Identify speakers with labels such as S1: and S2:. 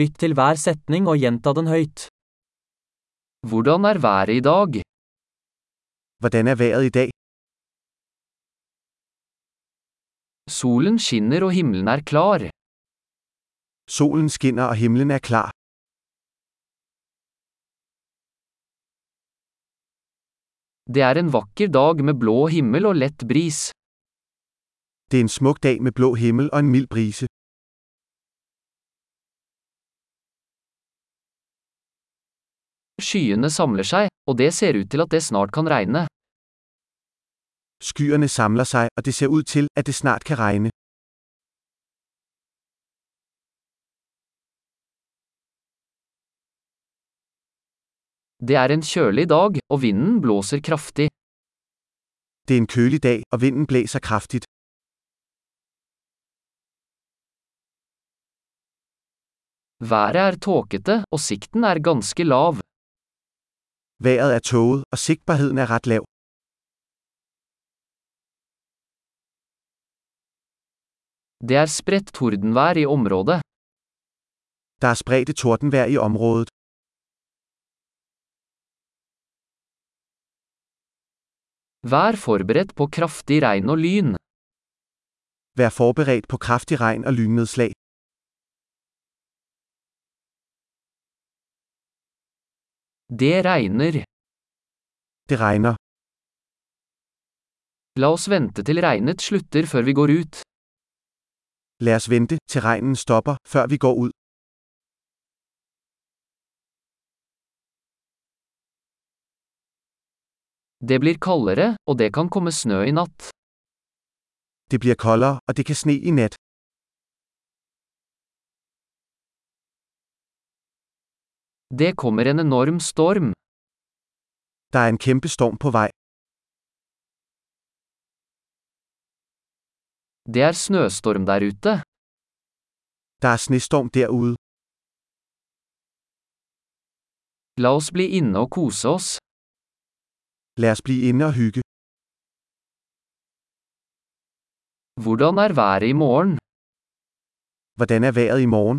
S1: Lytt til hver setning og gjenta den høyt.
S2: Hvordan er været i dag?
S3: Hvordan er vejret i dag?
S2: Solen skinner og himmelen er klar.
S3: Solen skinner og himlen er klar.
S2: Det er en vakker dag med blå himmel og lett bris.
S3: Det er en smuk dag med blå himmel og en mild brise.
S2: Skyene samler seg, og det ser ut til at det snart kan regne.
S3: Skyerne samler sig, og det ser ud til, at det snart kan regne.
S2: Det er en kjølig dag, og vinden blåser kraftig.
S3: Det er en kølig dag, og vinden blæser kraftigt.
S2: Været er tåkete, og sikten er ganske lav.
S3: Vejret er tåget, og sigtbarheden er ret lav.
S2: Det er spredt tordenvær i området.
S3: Der er spredte tordenvejr i området.
S2: Vær forberedt på kraftig regn og lyn.
S3: Vær forberedt på kraftig regn og lynnedslag.
S2: Det regner.
S3: Det regner.
S2: La oss vente til regnet slutter før vi går ut.
S3: Lad os vente, til regnen stopper, før vi går ud.
S2: Det blir kaldere, og det kan komme snø i natt.
S3: Det bliver koldere, og det kan sne i nat.
S2: Det kommer en enorm storm.
S3: Der er en kæmpe storm på vej.
S2: Det er snøstorm der ute.
S3: Der er snestorm derude.
S2: La oss bli inne og kose oss.
S3: Lad os blive inde og hygge.
S2: Hvordan er været i morgen?
S3: Hvordan er vejret i morgen?